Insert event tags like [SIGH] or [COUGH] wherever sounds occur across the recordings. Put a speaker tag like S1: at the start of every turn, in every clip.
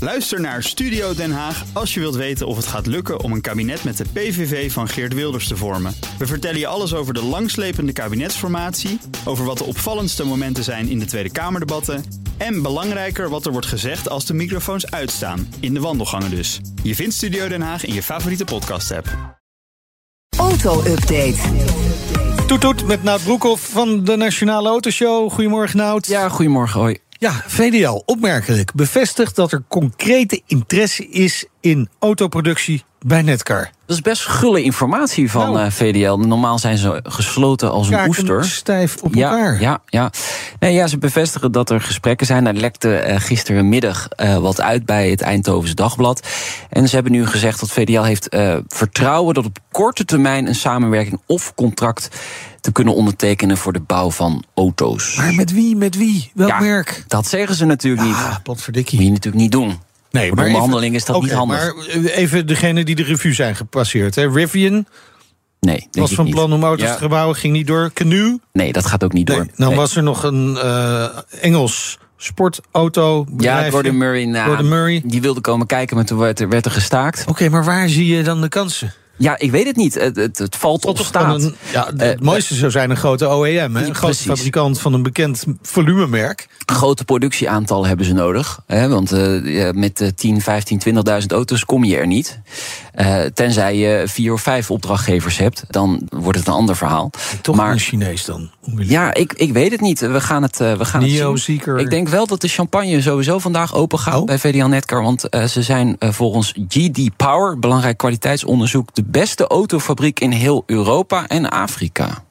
S1: Luister naar Studio Den Haag als je wilt weten of het gaat lukken om een kabinet met de PVV van Geert Wilders te vormen. We vertellen je alles over de langslepende kabinetsformatie, over wat de opvallendste momenten zijn in de Tweede Kamerdebatten en belangrijker wat er wordt gezegd als de microfoons uitstaan, in de wandelgangen dus. Je vindt Studio Den Haag in je favoriete podcast-app.
S2: Auto-update.
S3: Toet toet met Nout Broekhoff van de Nationale Autoshow. Goedemorgen Nout.
S4: Ja, goedemorgen hoi.
S3: Ja, VDL, opmerkelijk. Bevestigt dat er concrete interesse is in autoproductie bij Netcar.
S4: Dat is best gulle informatie van
S3: Nou.
S4: eh, VDL. Normaal zijn ze gesloten als een
S3: Kaken
S4: oester.
S3: stijf op
S4: Ja,
S3: elkaar.
S4: ja, ja. Nee, ja, ze bevestigen dat er gesprekken zijn. Daar lekte eh, gisterenmiddag eh, wat uit bij het Eindhoven's Dagblad. En ze hebben nu gezegd dat VDL heeft eh, vertrouwen... dat op korte termijn een samenwerking of contract te kunnen ondertekenen... voor de bouw van auto's.
S3: Maar met wie, met wie? Welk
S4: Ja,
S3: merk?
S4: Dat zeggen ze natuurlijk niet.
S3: Ah,
S4: Moet
S3: potverdikkie.
S4: je natuurlijk niet doen. Voor de
S3: even-
S4: onderhandeling is dat
S3: Oké,
S4: niet handig.
S3: Maar eh, even degene die de review zijn gepasseerd. Hè. Rivian
S4: Nee, denk
S3: was
S4: ik
S3: van
S4: niet.
S3: plan om auto's
S4: Ja.
S3: te gebouwen, ging niet door. Canoe?
S4: Nee, dat gaat ook niet
S3: Nee.
S4: door.
S3: Dan was er nog een eh, Engels sportauto.
S4: Ja, Gordon Murray. nou,
S3: Gordon Murray.
S4: Die wilde komen kijken, maar toen werd er, werd er gestaakt.
S3: Oké, maar waar zie je dan de kansen?
S4: Ja, ik weet het niet. Het, het, het valt op
S3: Toch dan
S4: staat.
S3: een- ja, d- het
S4: Eh,
S3: mooiste zou zijn een grote OEM, hè? een grote
S4: precies.
S3: fabrikant van een bekend volumemerk.
S4: Grote productieaantallen hebben ze nodig. Hè, want eh, ja, met eh, 10, 15, 20.000 auto's kom je er niet. Eh, tenzij je vier of vijf opdrachtgevers hebt. Dan wordt het een ander verhaal.
S3: Toch
S4: maar
S3: een Chinees dan. onwillig.
S4: ja, ik, ik weet het niet. We gaan het, eh, we gaan
S3: Neo
S4: het zien.
S3: Seeker.
S4: Ik denk wel dat de champagne sowieso vandaag open gaat
S3: Oh.
S4: bij VDL Netcar. Want eh, ze zijn eh, volgens GD Power, belangrijk kwaliteitsonderzoek... de beste autofabriek in heel Europa en Afrika.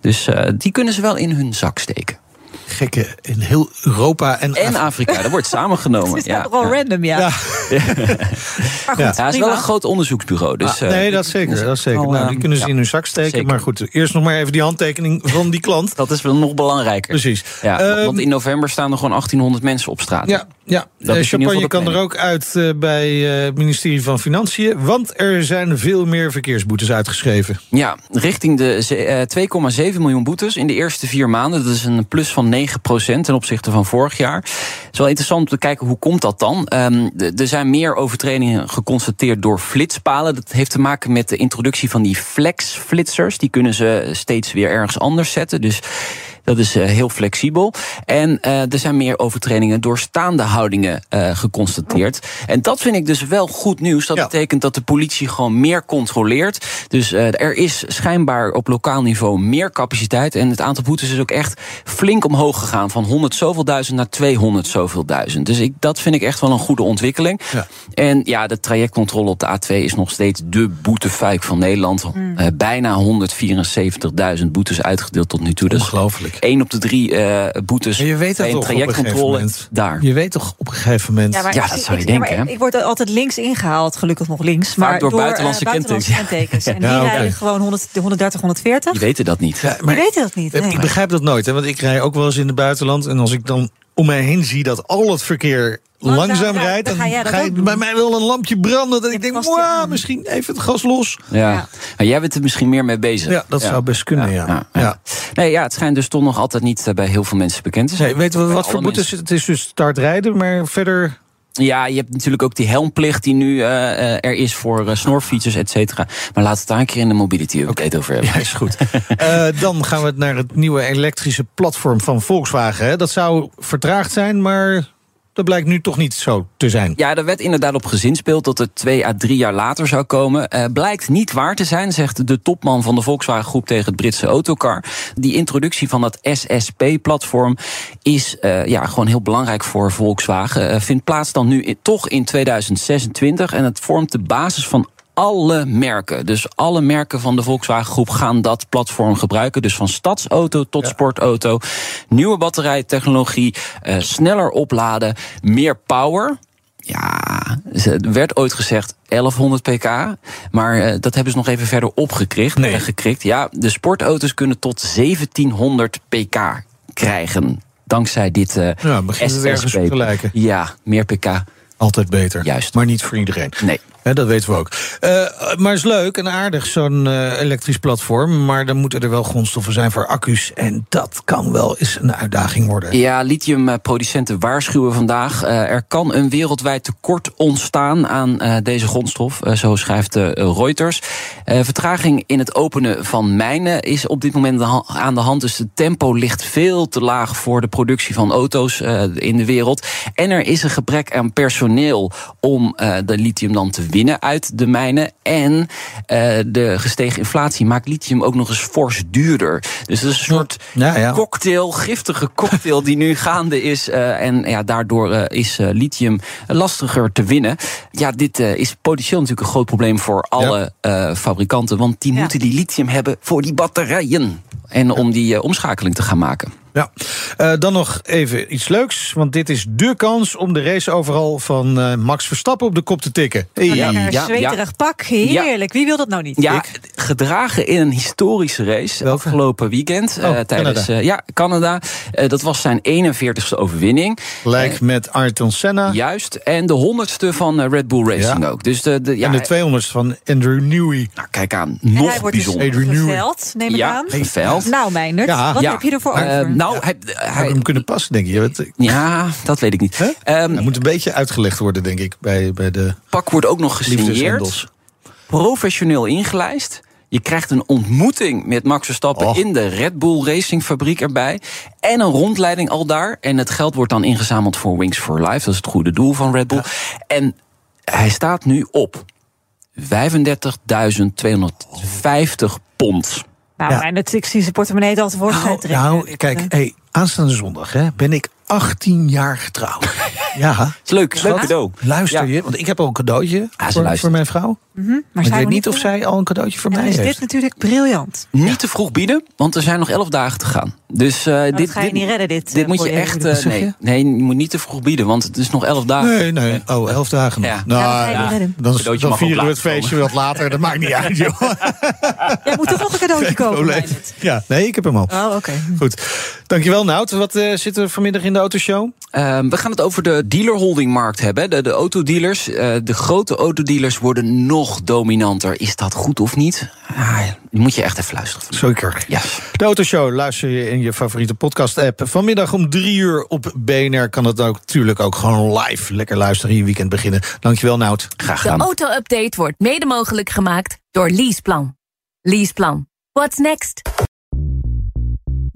S4: Dus eh, die kunnen ze wel in hun zak steken.
S3: Gekke in heel Europa en,
S4: En Afrika, dat wordt
S2: [LAUGHS]
S4: samengenomen.
S2: Het is
S4: ja,
S2: toch wel
S4: ja.
S2: random, [LAUGHS] ja.
S3: Ja.
S2: Maar goed,
S3: Ja.
S4: Ja, het is
S2: prima.
S4: wel een groot onderzoeksbureau. Dus,
S3: Ah,
S4: eh,
S3: nee, dat zeker. Dat zeker.
S4: wel,
S3: nou,
S4: eh,
S3: die kunnen ze
S4: ja.
S3: in hun zak steken.
S4: Zeker.
S3: Maar goed, eerst nog maar even die handtekening van die klant.
S4: Dat is wel nog belangrijker.
S3: Precies.
S4: Ja,
S3: Ehm,
S4: want in november staan er gewoon 1800 mensen op straat.
S3: Ja, ja.
S4: Dat
S3: Eh,
S4: is in ieder
S3: champagne
S4: geval de
S3: kan er
S4: planning.
S3: ook uit eh, bij eh, het ministerie van Financiën. Want er zijn veel meer verkeersboetes uitgeschreven.
S4: Ja, richting de ze- eh, 2,7 miljoen boetes in de eerste vier maanden. Dat is een plus van 9% ten opzichte van vorig jaar. Het is wel interessant om te kijken hoe komt dat dan. Ehm, de- er zijn meer overtredingen geconstateerd door flitspalen. Dat heeft te maken met de introductie van die flex-flitsers. Die kunnen ze steeds weer ergens anders zetten. Dus dat is eh, heel flexibel. En eh, er zijn meer overtredingen door staande houdingen eh, geconstateerd. En dat vind ik dus wel goed nieuws. Dat
S3: Ja.
S4: betekent dat de politie gewoon meer controleert. Dus eh, er is schijnbaar op lokaal niveau meer capaciteit. En het aantal boetes is ook echt flink omhoog gegaan. Van 100 zoveel duizend naar 200 zoveel duizend. Dus ik, dat vind ik echt wel een goede ontwikkeling.
S3: Ja.
S4: En ja, de trajectcontrole op de A2 is nog steeds de boetefuik van Nederland. Eh, bijna 174.000 boetes uitgedeeld tot nu toe. Dat is
S3: Ongelooflijk.
S4: 1 op de drie eh, boetes
S3: En je weet dat
S4: bij
S3: toch op
S4: een
S3: een gegeven
S4: trajectcontrole
S3: moment.
S4: daar.
S3: Je weet toch op een gegeven moment.
S2: maar
S4: Ja,
S2: ik-
S4: dat zou je
S2: ik- ja, maar
S4: denken, hè?
S2: Ik word altijd links ingehaald, gelukkig nog links.
S4: Vaak
S2: maar
S4: door
S2: eh,
S4: buitenlandse kentekens. [LAUGHS]
S2: kentekens. En die
S3: Ja, oké.
S2: rijden gewoon 100, de 130, 140.
S4: Die weten dat niet.
S3: Ja,
S2: Die weten dat niet. nee.
S3: Eh, Ik begrijp dat nooit, hè, want ik rij ook wel eens in het buitenland. En als ik dan om mij heen zie dat al het verkeer langzaam,
S2: Langzaam rijdt,
S3: rijdt,
S2: dan
S3: dan
S2: ga jij dat
S3: ga
S2: ook
S3: ik
S2: doen.
S3: bij mij wel een lampje branden. En ik denk,
S2: past je
S3: wauw,
S2: aan."
S3: misschien even het gas los.
S4: Ja.
S2: Ja.
S4: Maar jij bent er misschien meer mee bezig.
S3: Ja, dat zou best kunnen, ja.
S4: ja,
S3: ja.
S4: ja. Nee, ja, het schijnt dus toch nog altijd niet eh, bij heel veel mensen bekend te zijn.
S3: Nee, weet je wat,
S4: Bij
S3: wat
S4: alle
S3: voor boetes? Het is dus start rijden, maar verder...
S4: Ja, je hebt natuurlijk ook die helmplicht die nu eh, eh, er is voor eh, snorfietsers, et cetera. Maar laten we het daar een keer in de mobility update over hebben.
S3: Ja, is [LAUGHS] goed. Eh, dan gaan we het naar het nieuwe elektrische platform van Volkswagen. Hè. Dat zou vertraagd zijn, maar dat blijkt nu toch niet zo te zijn.
S4: Ja, er werd inderdaad op gezinspeeld dat het twee à drie jaar later zou komen. Eh, blijkt niet waar te zijn, zegt de topman van de Volkswagen Groep tegen het Britse Autocar. Die introductie van dat SSP-platform is eh, ja, gewoon heel belangrijk voor Volkswagen. Eh, vindt plaats dan nu in- toch in 2026 en het vormt de basis van alle merken. Dus alle merken van de Volkswagen Groep gaan dat platform gebruiken. Dus van stadsauto tot sportauto. Nieuwe batterijtechnologie, eh, sneller opladen, meer power. Ja, ze- er werd ooit gezegd 1100 pk. Maar eh, dat hebben ze nog even verder opgekrikt.
S3: Nee.
S4: eh, gekrikt. Ja, de sportauto's kunnen tot 1700 pk krijgen. Dankzij dit eh
S3: Ja, begint het ergens
S4: SSP.
S3: op te lijken.
S4: Ja, meer pk.
S3: Altijd beter.
S4: Juist.
S3: Maar niet voor iedereen.
S4: Nee.
S3: Eh, Hè, dat weten we ook. Eh, maar is leuk en aardig, zo'n eh, elektrisch platform. Maar dan moeten er wel grondstoffen zijn voor accu's. En dat kan wel eens een uitdaging worden.
S4: Ja, lithiumproducenten waarschuwen vandaag. eh, er kan een wereldwijd tekort ontstaan aan eh, deze grondstof, eh, zo schrijft eh, Reuters. Eh, vertraging in het openen van mijnen is op dit moment ha- aan de hand. Dus het tempo ligt veel te laag voor de productie van auto's eh, in de wereld. En er is een gebrek aan personeel om eh, de lithium dan te winnen uit de mijnen. En eh, de gestegen inflatie maakt lithium ook nog eens fors duurder. Dus het is een soort
S3: Ja, ja.
S4: cocktail, giftige cocktail die nu gaande is. eh, en ja, daardoor eh, is eh, lithium lastiger te winnen. Ja, dit eh, is potentieel natuurlijk een groot probleem voor alle eh, fabrikanten. Want die
S2: Ja.
S4: moeten die lithium hebben voor die batterijen. En om die eh, omschakeling te gaan maken.
S3: Ja. Eh, dan nog even iets leuks. Want dit is dé kans om de race overal van eh, Max Verstappen op de kop te tikken. Hey.
S2: Een lekker
S4: ja,
S2: zweterig
S4: ja.
S2: pak, heerlijk. Wie wil dat nou niet?
S4: Ja, gedragen in een historische race
S3: Welke? Oh,
S4: afgelopen weekend. eh,
S3: Canada.
S4: tijdens eh, ja, Canada. Eh, dat was zijn 41ste overwinning.
S3: Gelijk met Ayrton Senna.
S4: Juist. En de 100ste van eh, Red Bull Racing
S3: Ja.
S4: ook. Dus de, de, ja,
S3: En de 200 van Andrew Newey.
S4: nou, kijk aan,
S2: En
S4: nog
S2: hij wordt
S4: bijzonder.
S2: dus
S3: Adrian Newey.
S2: geveld, neem ik
S4: Ja,
S2: aan.
S4: geveld.
S2: Nou, Meindert,
S3: Ja.
S2: wat
S4: Ja.
S2: heb je ervoor
S4: Eh,
S2: over?
S4: nou, hij,
S3: Zou ik
S4: hij-
S3: hem kunnen passen, denk je? Want, eh,
S4: ja, dat weet ik niet.
S3: hè?
S4: Ehm,
S3: Hij moet een beetje uitgelegd worden, denk ik, bij, bij de
S4: pak wordt ook nog gesigneerd.
S3: liefdeshendels.
S4: Professioneel ingelijst. Je krijgt een ontmoeting met Max Verstappen
S3: Och.
S4: in de Red Bull Racing fabriek erbij. En een rondleiding al daar. En het geld wordt dan ingezameld voor Wings for Life. Dat is het goede doel van Red Bull. En hij staat nu op 35.250 pond.
S2: nou,
S3: ja.
S2: Meindert, ik zie zijn portemonnee dat voor
S3: Nou,
S2: zijn trekken. eh.
S3: nou, kijk, hey, aanstaande zondag hè, ben ik 18 jaar
S2: [LAUGHS]
S3: getrouwd. ja.
S4: is leuk, leuk
S3: Schat,
S4: cadeau.
S3: Luister
S4: Oh, Ja.
S3: je, want ik heb al een cadeautje
S4: Ah, ze
S3: voor,
S4: luistert.
S3: voor mijn vrouw.
S2: Maar
S3: ik
S2: zijn
S3: weet
S2: we
S3: niet of zij al een cadeautje voor
S2: En dan
S3: mij
S2: is
S3: heeft.
S2: dit natuurlijk briljant.
S4: Niet te vroeg bieden, want er zijn nog 11 dagen te gaan. Dus eh, dit,
S2: Oh, ga je niet redden, dit,
S4: Dit
S2: eh,
S4: moet je
S2: voor je
S4: echt.
S2: huwelijk.
S4: eh, nee,
S3: Zeg
S4: nee, je moet niet te vroeg bieden, want het is nog 11 dagen.
S3: Nee, nee. Oh, elf dagen nog.
S4: Ja.
S3: Nou,
S2: Ja, dat ga je niet redden.
S3: dan,
S4: Cadeautje
S3: dan
S4: mag ook
S3: vieren we het
S4: later
S3: feestje wat later. Dat maakt niet uit,
S2: [LAUGHS]
S3: joh.
S2: Jij moet toch nog een
S3: [LAUGHS]
S2: cadeautje kopen,
S3: Probleem.
S2: Meindert.
S3: Ja, nee, ik heb hem al.
S2: Oh, oké.
S3: Goed. Dankjewel, Nout. Wat eh, zit er vanmiddag in de autoshow?
S4: Ehm, we gaan het over de dealerholdingmarkt hebben. De, de autodealers, eh, de grote autodealers worden nog dominanter. Is dat goed of niet? Ah, moet je echt even luisteren.
S3: Zeker.
S4: Ja.
S3: De Autoshow luister je in je favoriete podcast-app. Vanmiddag om drie uur op BNR kan het ook, natuurlijk ook gewoon live. Lekker luisteren, je weekend beginnen. Dankjewel, Nout.
S4: Graag
S5: De
S4: gedaan.
S5: auto-update wordt mede mogelijk gemaakt door Leaseplan. Leaseplan. What's next?